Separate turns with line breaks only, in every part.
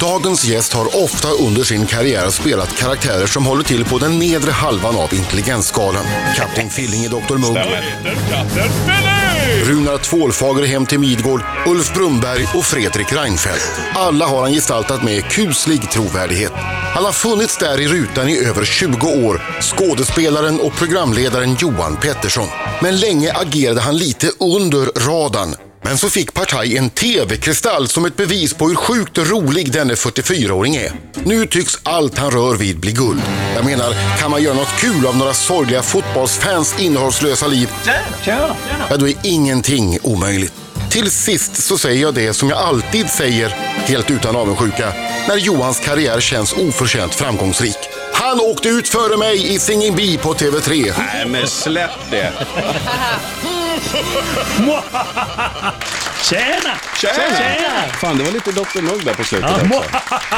Dagens gäst har ofta under sin karriär spelat karaktärer som håller till på den nedre halvan av intelligensskalan. Kapten Filling i Dr Mugg, Runar Tvålfager hem till Midgård, Ulf Brumberg och Fredrik Reinfeldt. Alla har han gestaltat med kuslig trovärdighet. Han har funnits där i rutan i över 20 år, skådespelaren och programledaren Johan Pettersson. Men länge agerade han lite under radarn. Men så fick Partaj en TV-kristall som ett bevis på hur sjukt rolig denne 44-åring är. Nu tycks allt han rör vid bli guld. Jag menar, kan man göra något kul av några sorgliga fotbollsfans innehållslösa liv
Tjena!
Ja, då är ingenting omöjligt. Till sist så säger jag det som jag alltid säger, helt utan avundsjuka, när Johans karriär känns oförtjänt framgångsrik. Han åkte ut före mig i Singing Bee på TV3.
Nej, men släpp det.
Tjena! Tjena!
Fan, det var lite Dr Mugg där på slutet också.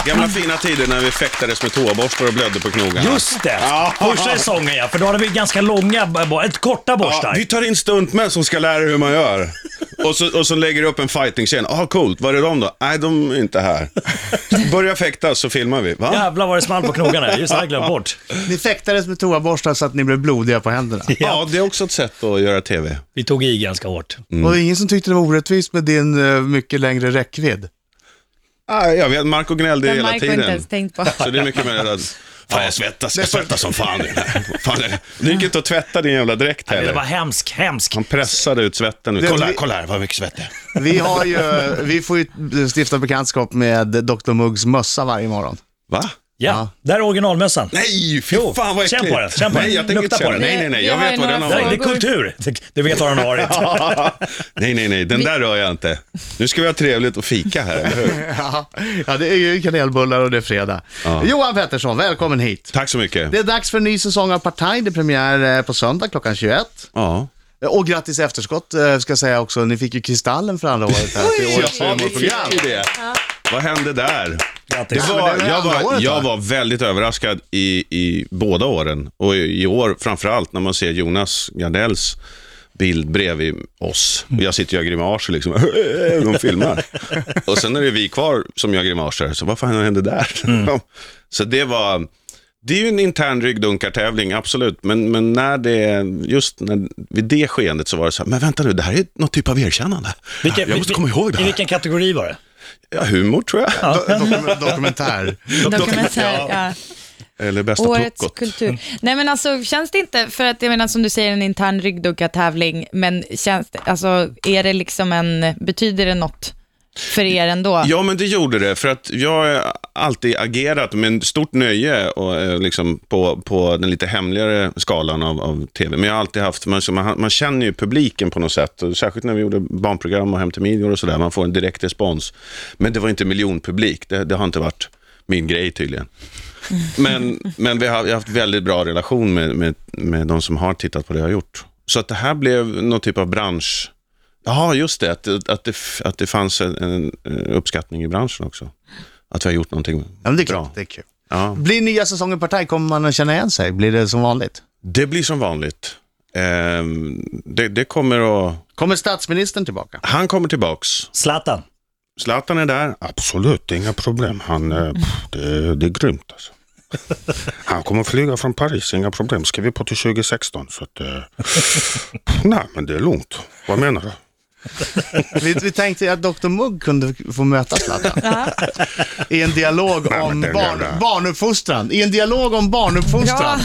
Gamla fina tider när vi fäktades med toaborstar och blödde på knogarna.
Just det! Första säsongen ja, för då hade vi ganska långa, bo- ett korta
Ja,
borstar.
vi tar in stuntmän som ska lära er hur man gör. Och så, och så lägger du upp en fighting-scen. Ah, coolt. Var är de då? Nej, de är inte här. Börja fäktas så filmar vi. Va?
Jävlar vad det small på knogarna, just det, jag glömde bort.
Ni fäktades med toaborstar så att ni blev blodiga på händerna.
Ja, det är också ett sätt att göra TV.
Vi tog i ganska hårt.
Och det var ingen som tyckte det var orättvist med din eh, mycket längre räckvidd.
Ah, jag vet, Marco gnällde
Men
hela
Marco har inte
tiden.
ens tänkt på.
Så det är mycket mer att, fan jag svettas, jag svettas som fan. i den här. fan jag- det gick inte att tvätta din jävla dräkt
Det var
heller.
hemsk, hemsk.
Han pressade ut svetten.
Det-
Kolla, här,
vi-
kolla här, vad mycket svett det är.
Vi, har ju, vi får ju stifta bekantskap med Dr Muggs mössa varje morgon.
Va?
Ja, där är originalmössan.
Nej, fy
Jo,
fan vad äckligt.
känn på den, känn på
nej,
den.
jag tänker
Lukta
inte känna.
på den.
Nej, nej, nej, jag
Vi har
vet vad
ju
den har
några
Nej, det är
varit.
frågor.
kultur. Du vet var den har varit.
Nej, nej, nej, den där rör jag inte. Nu ska vi ha trevligt och fika här, eller hur?
Ja, ja det är ju kanelbullar och det är fredag. Johan Pettersson, välkommen hit.
Tack så mycket.
Det är dags för en ny säsong av Partaj. Det är premiär eh, på söndag klockan 21.
Ja.
Och grattis i efterskott eh, ska jag säga också. Ni fick ju Kristallen för andra året här till årets
Ja, vi fick
humorprogram.
ju det. Vad hände där?
Grattis.
Det
men
var,
det var
jag,
andra
var,
året,
jag
va?
var väldigt överraskad i, i båda åren. Och i, i år framförallt när man ser Jonas Gardells bild bredvid oss. Och jag sitter och gör grimaser liksom. De filmar. Och sen är det vi kvar som gör grimaser. Så vad fan hände där? Så det var... Det är ju en intern ryggdunkartävling, absolut. Men, men när det, just när, vid det skeendet så var det så här, men vänta nu, det här är någon typ av erkännande.
Vilken-
jag måste komma ihåg det
I
här.
vilken kategori var det?
Ja, humor tror jag.
Do- dokumen- Dokumentär.
Dokumentär, ja.
Eller bästa
Årets
puckot.
kultur. Nej men alltså känns det inte, för att jag menar som du säger en intern ryggdunkartävling, men känns det, alltså är det liksom en, betyder det något för er ändå?
Ja, men det gjorde det. För att jag har alltid agerat med stort nöje och, eh, liksom på, på den lite hemligare skalan av, av tv. Men jag har alltid haft, man, man, man känner ju publiken på något sätt. Och särskilt när vi gjorde barnprogram och Hem till midjor och sådär. Man får en direkt respons. Men det var inte miljonpublik. Det, det har inte varit min grej tydligen. Men, men vi har, jag har haft väldigt bra relation med, med, med de som har tittat på det jag har gjort. Så att det här blev någon typ av bransch... Ja, just det. Att, det- att, det, f- att det fanns en, en eh, uppskattning i branschen också. Att vi har gjort någonting
Ja, men det är kul.
bra.
Det är kul.
Ja.
Blir nya säsongen Partaj, kommer man att känna igen sig? Blir det som vanligt?
Det blir som vanligt. Ehm, det, det kommer att...
Kommer statsministern tillbaka?
Han kommer tillbaks.
Zlatan.
Zlatan är där. Absolut, inga problem. Han, eh, pff, det, det är grymt alltså. Han kommer flyga från Paris, inga problem. Ska vi på till 2016? Så att, eh, pff, nej, men det är lugnt. Vad menar du?
Vi, vi tänkte att Dr Mugg kunde få möta Zlatan. I en dialog
Nej, men
om
den
barn,
jävla-
barnuppfostran. I en dialog om barnuppfostran.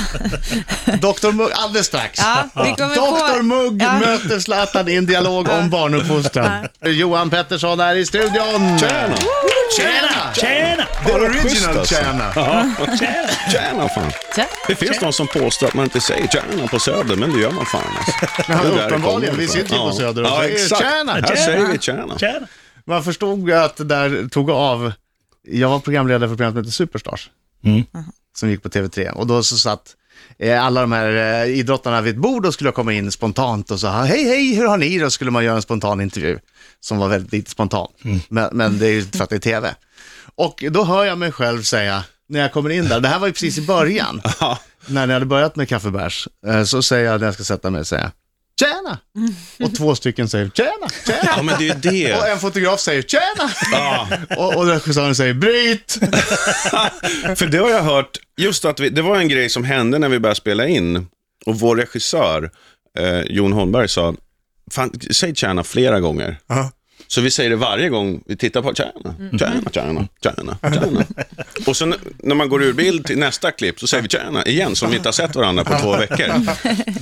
Dr Mugg, alldeles strax.
Ja, vi kommer på-
Dr Mugg
Ja.
möter Zlatan i en dialog om barnuppfostran. Johan Pettersson är i studion.
Tjena!
Tjena!
Tjena!
The
Vad schysst,
original
alltså.
tjena.
Tjäna fan.
Tja.
Det finns någon som påstår att man inte säger tjäna på Söder, men det gör man fan. Alltså. Det är där det
uppenbarligen.
kommer
Vi
ifrån.
sitter ju på
Ja.
Söder och
ja,
säger
exakt.
tjäna,
Här
tjäna.
säger vi tjäna.
Tjena!
Man förstod ju att det där tog av. Jag var programledare för programmet som hette Superstars. Som gick på TV3. Och då så satt eh, alla de här eh, idrottarna vid ett bord och skulle komma in spontant och sa hej hej hur har ni det? Och skulle man göra en spontan intervju. Som var väldigt lite spontan. Men, men det är ju för att det är TV. Och då hör jag mig själv säga när jag kommer in där, det här var ju precis i början. när ni hade börjat med kaffebärs. eh, Så säger jag när jag ska sätta mig, säger jag, tjena! Och två stycken säger tjena, tjena.
Ja, men det är ju
Och
det.
en fotograf säger tjena!
Ja.
Och, och regissören säger bryt!
För det har jag hört, just att vi, det var en grej som hände när vi började spela in. Och vår regissör, eh, Jon Holmberg, sa, Fan, säg tjäna flera gånger. Så vi säger det varje gång vi tittar på tjäna, tjäna, tjäna, tjäna, tjäna. Och sen när man går ur bild till nästa klipp så säger vi tjäna igen, som vi inte har sett varandra på två veckor.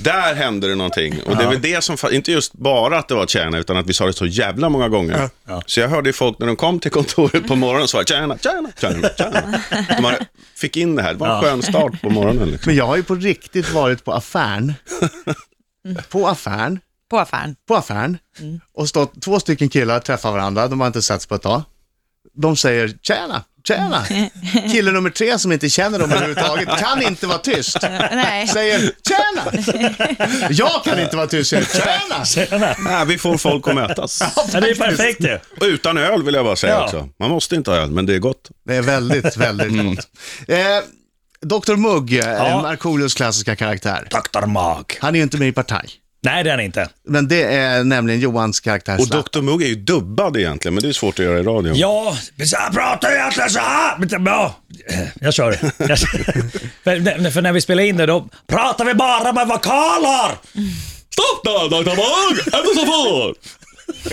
Där hände det någonting. Och det är väl det som, fa- inte just bara att det var tjäna, utan att vi sa det så jävla många gånger. Så jag hörde ju folk när de kom till kontoret på morgonen så var det tjäna, tjäna, tjäna, tjäna. De bara fick in det här, det var en skön start på morgonen. Liksom.
Men jag har ju på riktigt varit på affären. På affären.
På affären.
på affären och stått två stycken killar träffar varandra, de har inte setts på ett tag. De säger tjena, tjena. Kille nummer tre som inte känner dem överhuvudtaget kan inte vara tyst.
Nej.
Säger tjena. Jag kan inte vara tyst, säger tjena.
Tjena.
Nej, vi får folk att mötas.
Ja, det är perfekt ju.
Och utan öl vill jag bara säga
Ja.
också. Man måste inte ha öl, men det är gott.
Det är väldigt, väldigt gott. Eh, Dr Mugg, ja.
Ja.
Markoolios klassiska karaktär.
Dr. Mag.
Han är ju inte med i Partaj,
Nej, det är han inte.
men det är nämligen Johans karaktär.
Och
Zlatan.
Dr Mugg är ju dubbad egentligen, men det är svårt att göra i radio.
Ja, men så här pratar jag egentligen så här. Men det- Ja, jag kör. Jag kör. För, för när vi spelar in det, då pratar vi bara med vokaler.
Stopp då, Dr. Mugg! Ändå så får!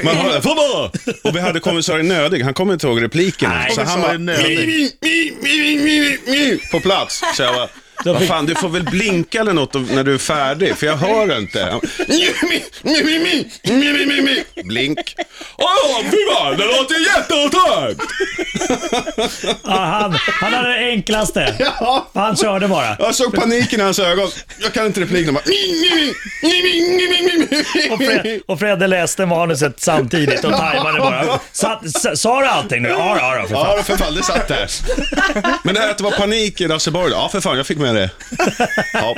Man hör, får bara! Och vi hade kommissarien Nödig, han kommer inte ihåg replikerna.
Nej,
så han
kommissarien Nödig.
mi, mi, mi, mi, mi, mi, på plats. Så jag bara, vad fan, du får väl blinka eller något när du är färdig, för jag hör inte. Han, mi, mi, mi, mi, mi, mi, mi, mi, mi. Blink. Åh, fy fan, det låter jätteotäckt!
Ja, han, han hade det enklaste.
Ja.
Han körde bara.
Jag såg paniken i hans ögon. Jag kan inte replikerna. Bara, mi, mi, mi, mi, mi, mi, mi, mi,
Och, Fred, och Fredde läste manuset samtidigt och tajmade bara. Sa, sa, sa du allting nu? Ja, ja, ja. för fan.
Ja, för fan, det satt där. Men det här att det var panik i Raseborg, ja för fan, jag fick med det. Ja.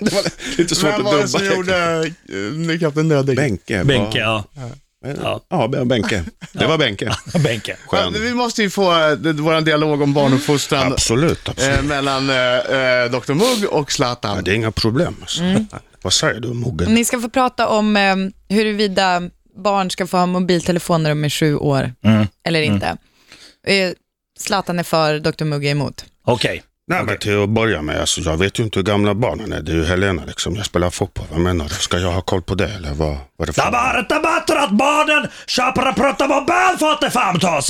Det var lite svårt
Vem var det
att
som
dubba.
gjorde eh, Kapten Nödig?
Benke.
Benke, ja.
Ja, ja Benke. Det var Benke.
Benke.
Ja,
Skön.
Vi måste ju få eh, d- vår dialog om barnuppfostran
Absolut, absolut.
eh, mellan eh, eh, Dr Mugg och Zlatan.
Det är inga problem. Alltså. Vad säger du, Mogge?
Ni ska få prata om eh, huruvida barn ska få ha mobiltelefon när de är sju år
Mm.
eller inte. Eh, Zlatan är för, Dr Mugg är emot.
Okej.
Nej, men till att börja med, alltså, jag vet ju inte hur gamla barnen är. Det är ju Helena liksom. Jag spelar fotboll. Vad menar du? Ska jag ha koll på det, eller vad, vad är det
Det var inte bättre att barnen köper en protomobil för 85 000.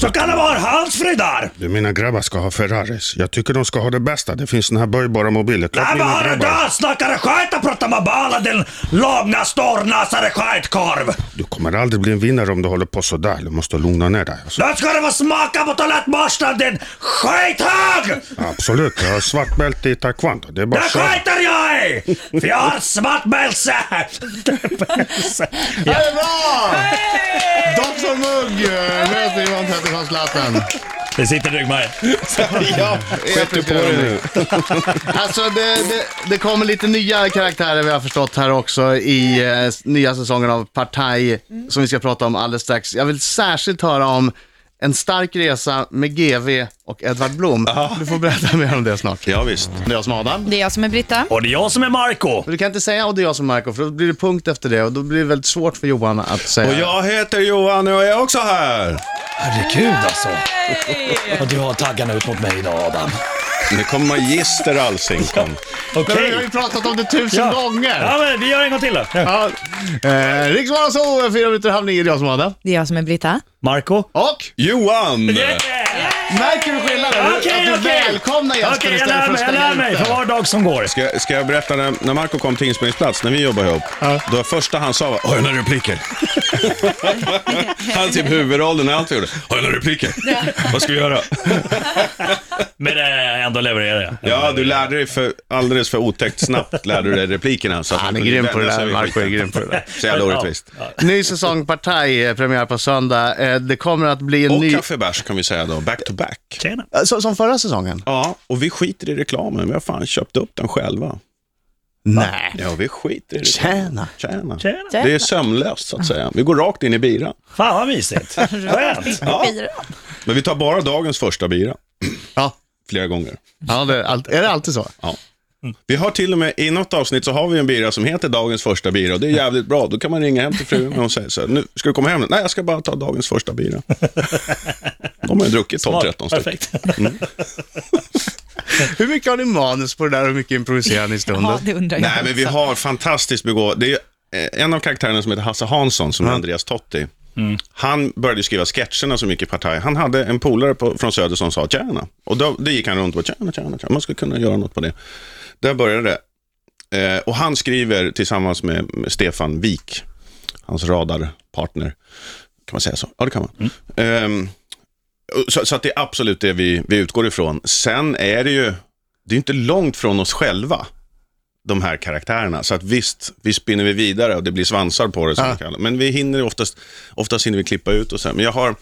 Så kan det vara handsfree där.
Du, mina grabbar ska ha Ferraris. Jag tycker de ska ha det bästa. Det finns den här böjbara mobiler. Klart
Nej men
mina
hörru
grabbar.
du, snackar du skit och pratar med balla din långa stornasade skitkorv.
Du kommer aldrig bli en vinnare om du håller på sådär. Du måste lugna ner dig. Alltså.
Nu ska du få smaka på toalettborsten din skithög!
Absolut, jag har svart bälte i taekwondo. Det är bara
Det skiter jag i! För jag har ett svart bälse.
Ja. Det är bra! Dr Mugg eh, möter Johan Pettersson Zlatan.
Det sitter i ryggmärgen.
ja,
Skit du på dig nu.
Alltså det, det, det kommer lite nya karaktärer vi har förstått här också i eh, s- nya säsongen av Partaj som vi ska prata om alldeles strax. Jag vill särskilt höra om en stark resa med GV och Edvard Blom. Du får berätta mer om det snart.
Ja, visst.
Det är jag som är Adam.
Det är jag som är Britta.
Och det är jag som är Marco.
Men du kan inte säga och det är jag som är Marco, för då blir det punkt efter det och då blir det väldigt svårt för Johan att säga.
Och jag heter Johan och jag är också här.
Herregud alltså. Och du har taggarna ut mot mig idag Adam.
Nu kommer magister Alsing. Kom.
Men
Okej.
Vi har ju pratat om det tusen gånger!
Ja men vi gör en gång till då.
Ja. Eh, Riks Morgonzoo, fyra minuter i halv nio, det är jag som är Adam.
Det är jag som är Britta.
Marco.
Och
Johan!
märker du skillnaden? Du-
Okej,
att du
okej.
välkomnar Jesper
Okej, jag
istället
lär
för att
mig, jag
stänga
lär mig
ut
för
den.
var dag som går.
Ska, jag- ska jag berätta, när, när Marco kom till inspelningsplats, när vi jobbade ihop, då det första han sa var “Har jag några repliker?” Han typ huvudrollen i allt vi gjorde. “Har jag några repliker?” Vad ska vi göra?
Men eh, ändå levererar jag.
Ja, du lärde dig för, alldeles för otäckt snabbt lärde du dig replikerna. Så att
Han är
kunde
grym på det
vänja sig
där,
vid
Marco är
skiten.
grym på det där.
Så jävla orättvist.
Ja,
Ny säsong Partaj, eh, premiär på söndag. Eh, Det kommer att bli en
Och
ny...
kaffebärs kan vi säga då, back to back.
Tjena.
Eh, så- Som förra säsongen?
Ja, och vi skiter i reklamen. Vi har fan köpt upp den själva.
Nej.
Ja, vi skiter i reklamen.
Tjena!
Tjäna.
Tjena.
Det är sömlöst så att säga. Vi går rakt in i bira.
Fan vad mysigt. Skönt.
Ja. Men vi tar bara dagens första bira,
Ja,
flera gånger.
ja det, är allt- är det alltid så?
Ja. Vi har till och med, i något avsnitt så har vi en bira som heter Dagens första bira och det är jävligt bra. Då kan man ringa hem till frun och hon säger så här, nu ska du komma hem? Nej, jag ska bara ta dagens första bira. De har ju druckit 12-13
Smart.
stycken.
Perfekt.
Hur mycket har ni manus på det där och hur mycket improviserar ni i
Ja,
stunden?
det undrar jag.
Nej, men vi har fantastiskt begåvade... Det är eh, en av karaktärerna som heter Hasse Hansson, som är Andreas Totti. Han började skriva sketcherna som gick i Partaj. Han hade en polare på, från Söder som sa tjäna. Och då, det gick han runt och bara tjäna, tjäna, tjäna. Man skulle kunna göra något på det. Där började det. Eh, och han skriver tillsammans med med Stefan Wik, hans radarpartner. Kan man säga så? Ja, det kan man. Ehm, och så, så att det är absolut det vi, vi utgår ifrån. Sen är det ju, det är inte långt från oss själva de här karaktärerna. Så att visst, vi spinner vi vidare och det blir svansar på det. Som man kallar. det. Men vi hinner oftast, oftast hinner vi klippa ut och så här. Men jag har,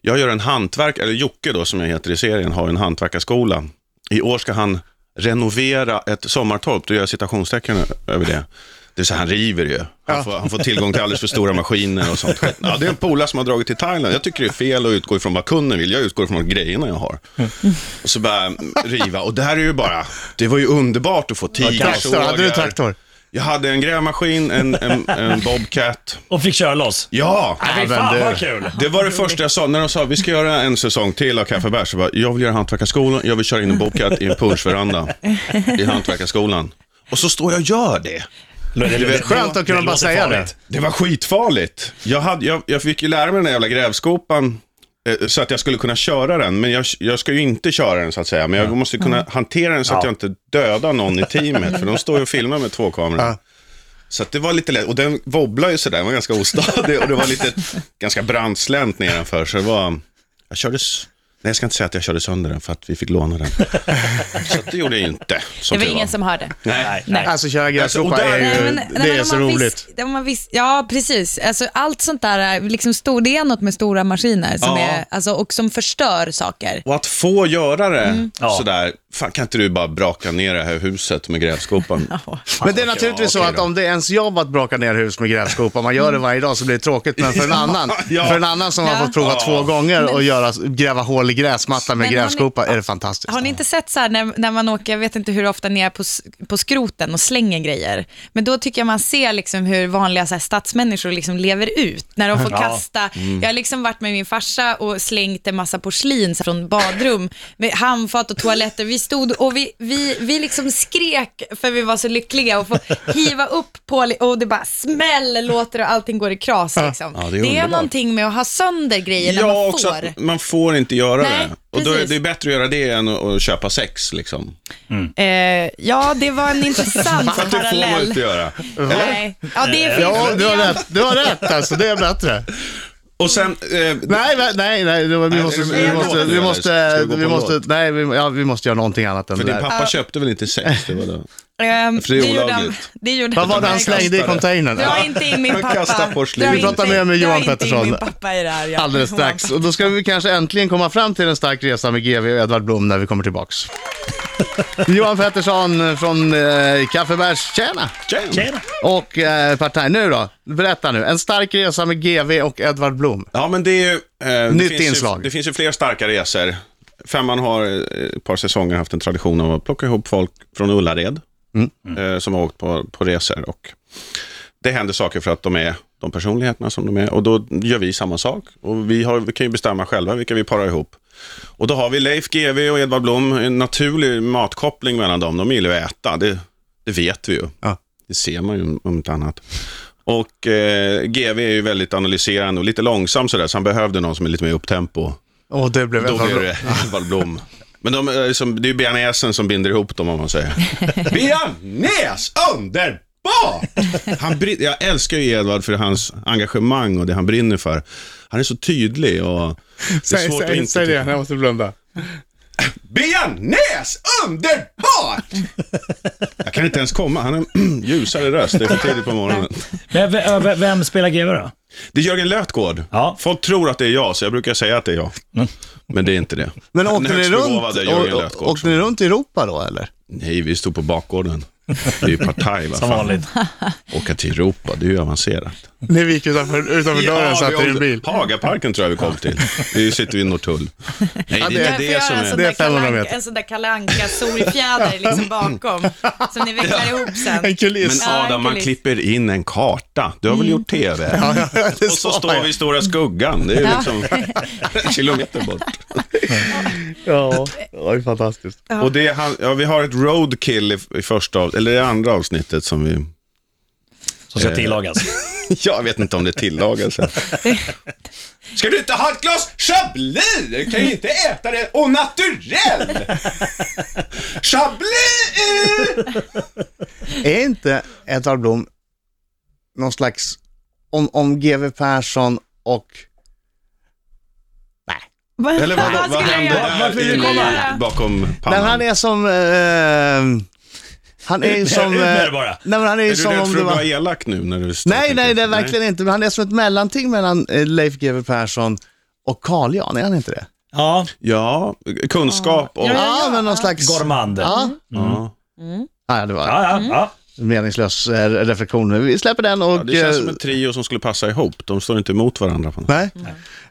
jag gör en hantverk, eller Jocke då som jag heter i serien, har en hantverkarskola. I år ska han renovera ett sommartorp, då gör jag citationstecken ö- över det. Det är så här, han river ju. Han, får, han får tillgång till alldeles för stora maskiner och sånt skit. ja, Det är en polare som har dragit till Thailand. Jag tycker det är fel att utgå ifrån vad kunden vill. Jag utgår ifrån vad grejerna jag har.
Mm.
Och så bara mm, riva. Och det här är ju bara, det var ju underbart att få
Traktor, hade du traktor?
tigersågar. Jag hade en grävmaskin, en, en, en Bobcat.
Och fick köra loss.
Ja!
Nej,
men
fan
du-
vad kul.
Det var det första jag sa. När de sa vi ska göra en säsong till av Café Bärs, så bara, jag vill göra hantverkarskolan, jag vill köra in en bobcat i en punschveranda i hantverkarskolan. Och så står jag och gör det.
Det, det, det,
Skönt att kunna bara
låter
säga
farligt.
det.
Det var skitfarligt. Jag, hade, jag, jag fick ju lära mig den där jävla grävskopan eh, så att jag skulle kunna köra den. Men jag, jag ska ju inte köra den så att säga. Men jag måste ju kunna hantera den så att jag inte dödar någon i teamet. För de står ju och filmar med två kameror. Så att det var lite lätt. Och den wobblade ju sådär. Den var ganska ostadig. Och det var lite ganska brant slänt nedanför. Så det var... Jag körde... s- Nej, jag ska inte säga att jag körde sönder den för att vi fick låna den. Så att det gjorde jag ju inte.
Det
Som
var
tur
ingen som hörde.
Nej, nej.
Alltså köra
och
grävskopa
där-
är ju,
Nej, men- nej, men
det är
om
så
man
roligt.
Visst, om man visst, ja, precis. Alltså, allt sånt där, är liksom stor, det är något med stora maskiner som
Ja.
är, alltså, och som förstör saker.
Och att få göra det
Mm.
Ja.
sådär, fan kan inte du bara braka ner det här huset med grävskopan?
Men det är naturligtvis så
okej
att
då.
om det är ens jobb att braka ner hus med grävskopa, man gör det varje dag så blir det tråkigt. Men för en annan,
Ja.
för en annan som har
Ja.
fått prova två gånger och göra, gräva hål i gräsmattan med
Men har ni-
grävskopa är det fantastiskt.
Har ni inte sett så här när, när man åker, jag vet inte hur ofta ni är på, s- på skroten och slänger grejer, men då tycker jag man ser liksom hur vanliga så här stadsmänniskor liksom lever ut när de får kasta.
Mm.
Jag har liksom varit med min farsa och slängt en massa porslin så här från badrum med handfat och toaletter. Vi stod och vi, vi, vi liksom skrek för vi var så lyckliga och få hiva upp på och det bara smäller, låter och allting går i kras. Liksom.
Ja, det är
det, är
underbart.
någonting med att ha sönder grejer när man
också
får.
att man får inte göra
Nej,
det. Och då är
precis.
det är bättre att göra det än att, att köpa sex liksom.
Eh, ja, det var en intressant
För att det får man
parallell.
inte göra. Eh,
Nej, ja det är
Ja,
fel.
du har rätt. Du har rätt alltså, det är bättre.
Och sen, eh,
Nej, va- nej, nej, det var- vi
Nej,
måste,
är det-
vi
är det
måste,
låten,
vi
eller? Ska
måste,
vi gå på
vi
en
måste,
låt?
nej, vi, ja, vi måste göra någonting annat än
för
det
din
där.
pappa köpte väl inte sex? Det var det.
Ehm,
För det är
gjorde han,
olagligt.
det gjorde
Vad var det han
verkligen.
slängde i containern?
Dra inte in min
Han
pappa.
kastar porslin.
Dra
Vi
pratar
inte-
mer med Johan
dra inte in
Pettersson.
min pappa i det här. ja.
Alldeles strax. Och då ska vi kanske äntligen komma fram till en stark resa med GV och Edvard Blom när vi kommer tillbaks. Johan Pettersson från eh, Kaffebärs, tjena!
Jam.
Tjena.
Och eh, Partaj, nu då? Berätta nu. En stark resa med GV och Edvard Blom.
Ja, men det är ju... Eh, det
Nytt
finns
inslag.
Ju, det finns ju fler starka resor. Femman har eh, ett par säsonger haft en tradition av att plocka ihop folk från Ullared
Mm.
eh, som har åkt på, på resor. Och det händer saker för att de är de personligheterna som de är och då gör vi samma sak. Och vi, har, vi kan ju bestämma själva vilka vi parar ihop. Och då har vi Leif GW och Edvard Blom, en naturlig matkoppling mellan dem. De gillar ju att äta, det, det vet vi ju.
Ja.
Det ser man ju om inte annat. Och eh, GV är ju väldigt analyserande och lite långsam sådär, så han behövde någon som är lite mer upptempo.
Och det blev
Då
Edvard
blir
Blom.
det Edvard Blom. Men de, är som, det är ju bearnaisen som binder ihop dem om man säger. Bearnaise, underbart! Han brin- jag älskar ju Edvard för hans engagemang och det han brinner för. Han är så tydlig och det är
Säg,
svårt att
säg,
inte
säg det,
tycka-
jag måste blunda.
Bearnaise, underbart! Jag kan inte ens komma, han har en ljusare röst, det är för tidigt på morgonen.
Men v- ö- v- vem spelar GW då?
Det är Jörgen Lötgård.
Ja. Mm.
Folk tror att det är jag, så jag brukar säga att det är jag. Men det är inte det.
Men
Den
åkte ni
högst begåvade
runt,
Jörgen
å-
Lötgård.
å- åkte ni runt i Europa då eller?
Nej, vi stod på bakgården. Det är ju partaj, vad
Som
fan.
vanligt.
Åka till Europa, det är ju avancerat.
När vi gick utanför, utanför dörren satt det en bil.
Hagaparken tror jag vi kom till. Nu sitter vi i Norrtull. Nej, det är inte
det är-
Jag får
det
göra
som
en sån
är...
det är
där Kalle
500
Anka-
meter.
en sån där Kalle Anka-solfjäder liksom bakom, som ni vecklar ihop sen.
En kuliss.
Men
Ja,
Adam, man
kuliss.
klipper in en karta. Du har väl gjort TV?
Mm. Ja, ja, det
Och så
sa
står
jag.
vi i Stora Skuggan. Det är ju
Ja.
liksom kilometer bort.
Ja, det var ju fantastiskt.
Och det är, han- ja, vi har ett roadkill i, i första av, eller i andra avsnittet som vi...
Som
Eh.
ska tillagas.
Jag vet inte om det tillagas. Ska du inte ha ett glas chablis? Du kan ju inte äta det au naturel. Chablis!
Är inte Edvard Blom någon slags, om, om GW Persson och, nej.
Eller vad, vad,
skulle jag
hände
göra?
där
Vad skulle jag
i,
göra?
bakom
Nej,
pannan?
men han är som, eh, han är ju
Ut med-
som,
ut med det
eh,
bara.
nej men han är ju
är du
som
rädd
om
för
det
att vara
var,
elak nu? När du står och
nej
tänker?
nej det är verkligen inte, men han är som ett mellanting mellan eh, Leif GW Persson och Carl Jan, är han inte det?
Ja,
Ja, kunskap och...
Ja, ja.
Ja, men någon slags,
Gormand. Ja, Mm.
ja,
Ja.
nej, det var
ja, ja.
en meningslös eh, reflektion, men vi släpper den
Ja,
och,
det känns
eh,
som en trio som skulle passa ihop. De står inte emot varandra. På något.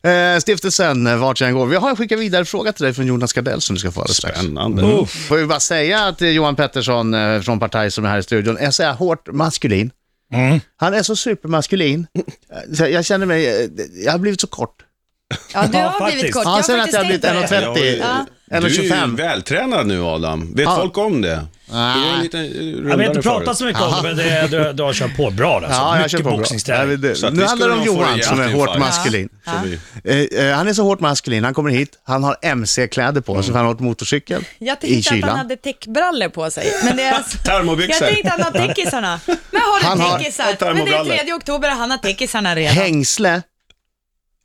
nej. Eh, stiftelsen, eh, vart jag än går. Vi har en skickat vidare fråga till dig från Jonas Gardell som du ska få alldeles strax.
Spännande.
Får vi bara säga att eh, Johan Pettersson eh, från Partaj som är här i studion är så här hårt maskulin.
Mm.
Han är så supermaskulin. Eh, så Jag känner mig, eh, jag har blivit så kort.
Ja, du
Ja,
har
faktiskt.
blivit kort. Jag
Ja,
har
sen att
faktiskt
jag har
tänkt
blivit
på det.
1,30,
Ja.
Du är ju
1,25.
vältränad nu Adam. Vet
Ja.
folk om det? Du var
Nej.
en liten eh,
Jag
rundare
har inte pratat
förut.
så mycket om det, men det, du, du har kört på bra alltså.
Ja, jag
mycket
kör på bra. Ja,
boxningsträning.
men
Så
det-
att
Nu
vi
handlar det
skulle
om
nog få
Johan
rejält
som är
infarkt.
hårt maskulin.
Så vi-
Eh, eh, Han är så hårt maskulin, han kommer hit, han har MC-kläder på
Mm.
sig för han har åkt motorcykel
Jag
i
tänkte att han
kylan.
hade täckbrallor på sig. Men det är alltså...
Termobyxor.
Jag tänkte att han har täckisarna. Men har
Han
du
har-
täckisar? Men det
termobrallor.
är 3 oktober och han har täckisarna redan.
Hängsle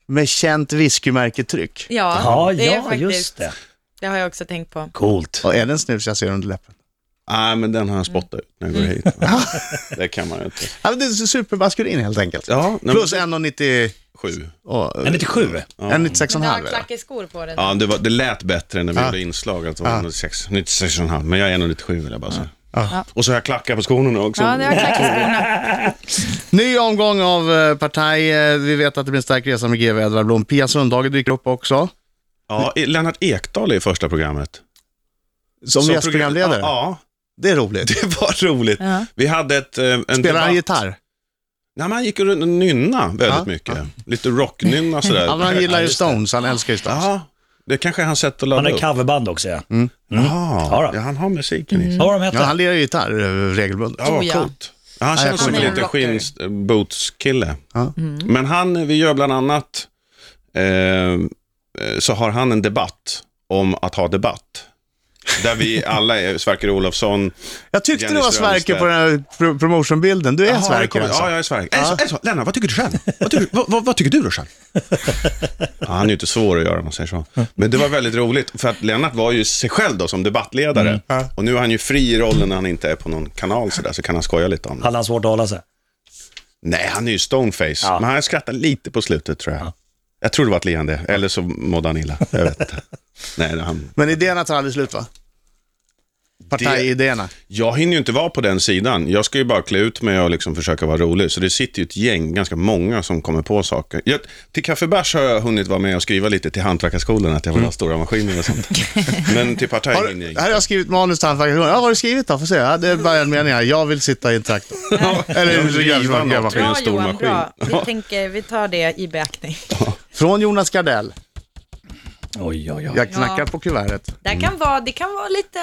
med känt whiskymärketryck.
Ja,
Ja,
det är
ja,
faktiskt.
just det.
Det har jag också tänkt på.
Coolt.
Och är det en snus jag ser under läppen?
Nej, men den har jag spottat
Mm.
ut när jag går hit. det kan man ju inte.
Ja, men det är supermaskulin helt enkelt.
Ja, nej,
Plus
men-
1,90
Sju.
och
En 97.
En 96
Men du har
96,5
klackeskor på dig.
Ja, det, var, det lät bättre när vi
Ja.
gjorde inslag alltså, att det
Ja.
var 96, 96,5, men jag är 1,97 vill jag bara säga.
Ja.
Och så har jag klackar på skorna nu också.
Ja, det har klackeskorna.
Ny omgång av eh, Partaj. Eh, Vi vet att det blir en stark resa med GW Edvard Blom. Pia Sundhage dyker upp också.
Ja, i- Lennart Ekdal är i första programmet.
Som
Så
gästprogramledare.
program- Ja,
Det är roligt.
det var roligt.
Ja.
Vi hade ett... eh, En
Spelar han
debatt-
gitarr?
Nej, men han gick runt och nynna väldigt
Ja,
mycket. Lite rocknynna sådär.
Ja, men han gillar ju
just det.
Stones. Han älskar ju Stones.
Ja, det kanske är hans sätt att
Han
ladda
är
upp.
coverband också ja. Ja,
Ja,
då.
ja, han har musiken i sig.
Vad var de hette?
Mm. Ja, han lirar ju gitarr eh, regelbundet.
Ja,
Oh,
vad
ja.
coolt. Ja, Han
Ja, jag
känns som en
kommer
ihåg.
liten skinnbootskille.
Ja.
Men han, vi gör bland annat, eh, eh, så har han en debatt om att ha debatt. Där vi alla är Sverker Olofsson.
Jag tyckte
Jenny
det var Sverker
Strömstedt.
på den här pro- promotionbilden. Du är
Jaha, det
Sverker
kommer-
alltså?
Ja, jag är Sverker. Äh, så- äh, så, Lennart, vad tycker du själv? Vad tycker, vad, vad, vad tycker du då själv? ja, han är ju inte svår att göra om man säger så. Men det var väldigt roligt, för att Lennart var ju sig själv då som debattledare.
Mm.
Och nu är han ju fri i rollen när han inte är på någon kanal sådär, så kan han skoja lite om det.
Hade han svårt att hålla sig?
Nej, han är ju stoneface. Men han skrattar lite på slutet tror jag. Jag tror det var ett leende, eller så mådde han illa. Jag vet inte. Nej, han...
Men idéerna tar aldrig slut va? Partajidéerna.
Jag hinner ju inte vara på den sidan. Jag ska ju bara klä ut mig och liksom försöka vara rolig. Så det sitter ju ett gäng, ganska många, som kommer på saker. Jag, till kaffebärs har jag hunnit vara med och skriva lite till hantverkarskolan, att jag vill
Mm.
ha stora maskiner och sånt. Men till partaj
Har,
hinner jag
här
inte.
har jag skrivit manus till Hantverkarskolan. Ja, vad har du skrivit då? Får se. Ja, det är bara en mening här. Jag vill sitta i en traktor. Eller
Jag vill
en
riva
gammal-
något.
gammal-
Det är en
Bra
stor
Johan,
maskin.
bra. Vi, tänker, vi tar det i beaktning.
Från Jonas Gardell.
Oj, oj, oj.
Jag knackar på kuvertet.
Det, här kan vara, det kan vara lite...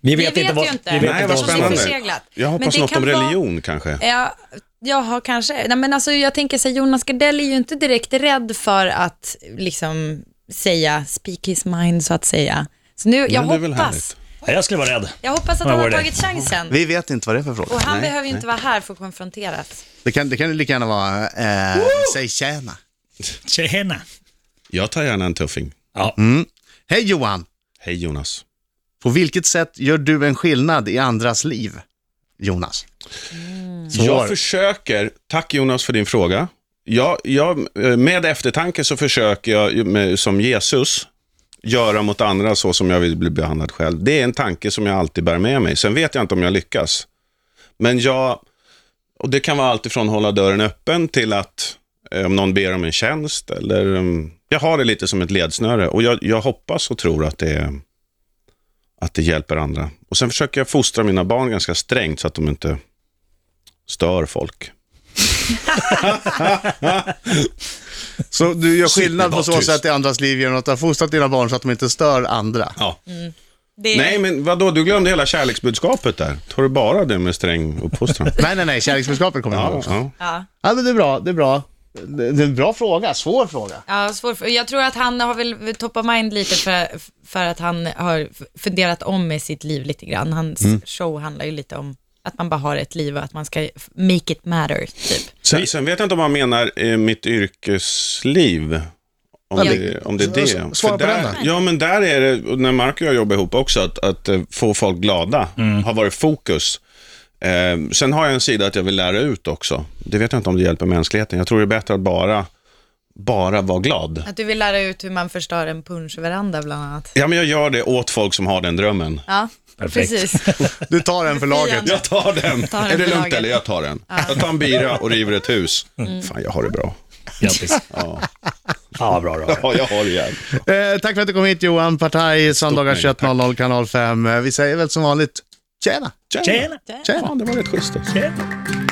Vi
vet ju inte.
Vi vet
Nej,
inte
vad
vad som
spännande.
händer.
förseglat.
Jag
Men
hoppas
det
något
kan
om
vara-
religion kanske.
Ja, jag har kanske, nej men alltså jag tänker så här, Jonas Gardell är ju inte direkt rädd för att liksom säga, speak his mind så att säga. Så nu, jag
Men det är väl härligt.
hoppas,
Ja, Jag skulle vara rädd.
jag hoppas att
Ja,
han har
vad är det?
tagit chansen.
Vi vet inte vad det är för fråga.
Och han behöver ju inte vara här för att konfronteras.
Det kan, det kan ju lika gärna vara, eh, säg tjäna.
Tjena.
Jag tar gärna en tuffing.
Ja.
Hej Johan!
Hej Jonas.
På vilket sätt gör du en skillnad i andras liv? Jonas. Svår.
Jag försöker, tack Jonas för din fråga. Jag, jag, eh, med eftertanke så försöker jag ju med, som Jesus göra mot andra så som jag vill bli behandlad själv. Det är en tanke som jag alltid bär med mig. Sen vet jag inte om jag lyckas. Men jag, och det kan vara allt ifrån hålla dörren öppen till att eh, om någon ber om en tjänst eller mm, jag har det lite som ett ledsnöre och jag, jag hoppas och tror att det, att det hjälper andra. Och sen försöker jag fostra mina barn ganska strängt så att de inte stör folk.
Så du gör skillnad
Sitt,
på
var
så
tyst.
sätt i andras liv genom att ha fostrat dina barn så att de inte stör andra.
Ja.
Det är,
Nej, men vadå, du glömde hela kärleksbudskapet där. Tar du bara det med sträng uppfostran?
Nej, nej, nej, kärleksbudskapet kommer jag ihåg
ja,
också.
ja.
ja.
Ja, men det är bra, det är bra. Det det är en bra fråga, svår fråga.
Ja, svår, för- jag tror att han har väl top of mind lite för, för att han har f- funderat om i sitt liv lite grann. Hans
Mm.
show handlar ju lite om att man bara har ett liv och att man ska f- make it matter, typ.
Sen, sen vet jag inte om han menar eh, mitt yrkesliv. Om
Ja.
det, om det är
S-
det.
svara på
där,
den då.
Ja, men där är det, och när Mark och jag jobbar ihop också, att, att eh, få folk glada har varit fokus. Eh, sen har jag en sida att jag vill lära ut också. Det vet jag inte om det hjälper mänskligheten. Jag tror det är bättre att bara, bara vara glad.
Att du vill lära ut hur man förstör en punschveranda bland annat.
Ja, men jag gör det åt folk som har den drömmen.
Ja,
Perfekt.
precis.
Du tar en för laget.
Jag tar den.
Tar den
är det
för
lugnt
laget. Mm.
eller? Jag tar den. Jag tar en bira och river ett hus. Fan, jag har det bra.
Grattis.
Ja,
Ja, bra, bra.
ja jag har det jävligt bra.
Eh, tack för att du kom hit Johan, Partaj, söndagar
nöje,
21.00, kanal 5. Eh, Vi säger väl som vanligt, tjena!
Tjena!
Fan, det var rätt schysst. alltså.
Tjena!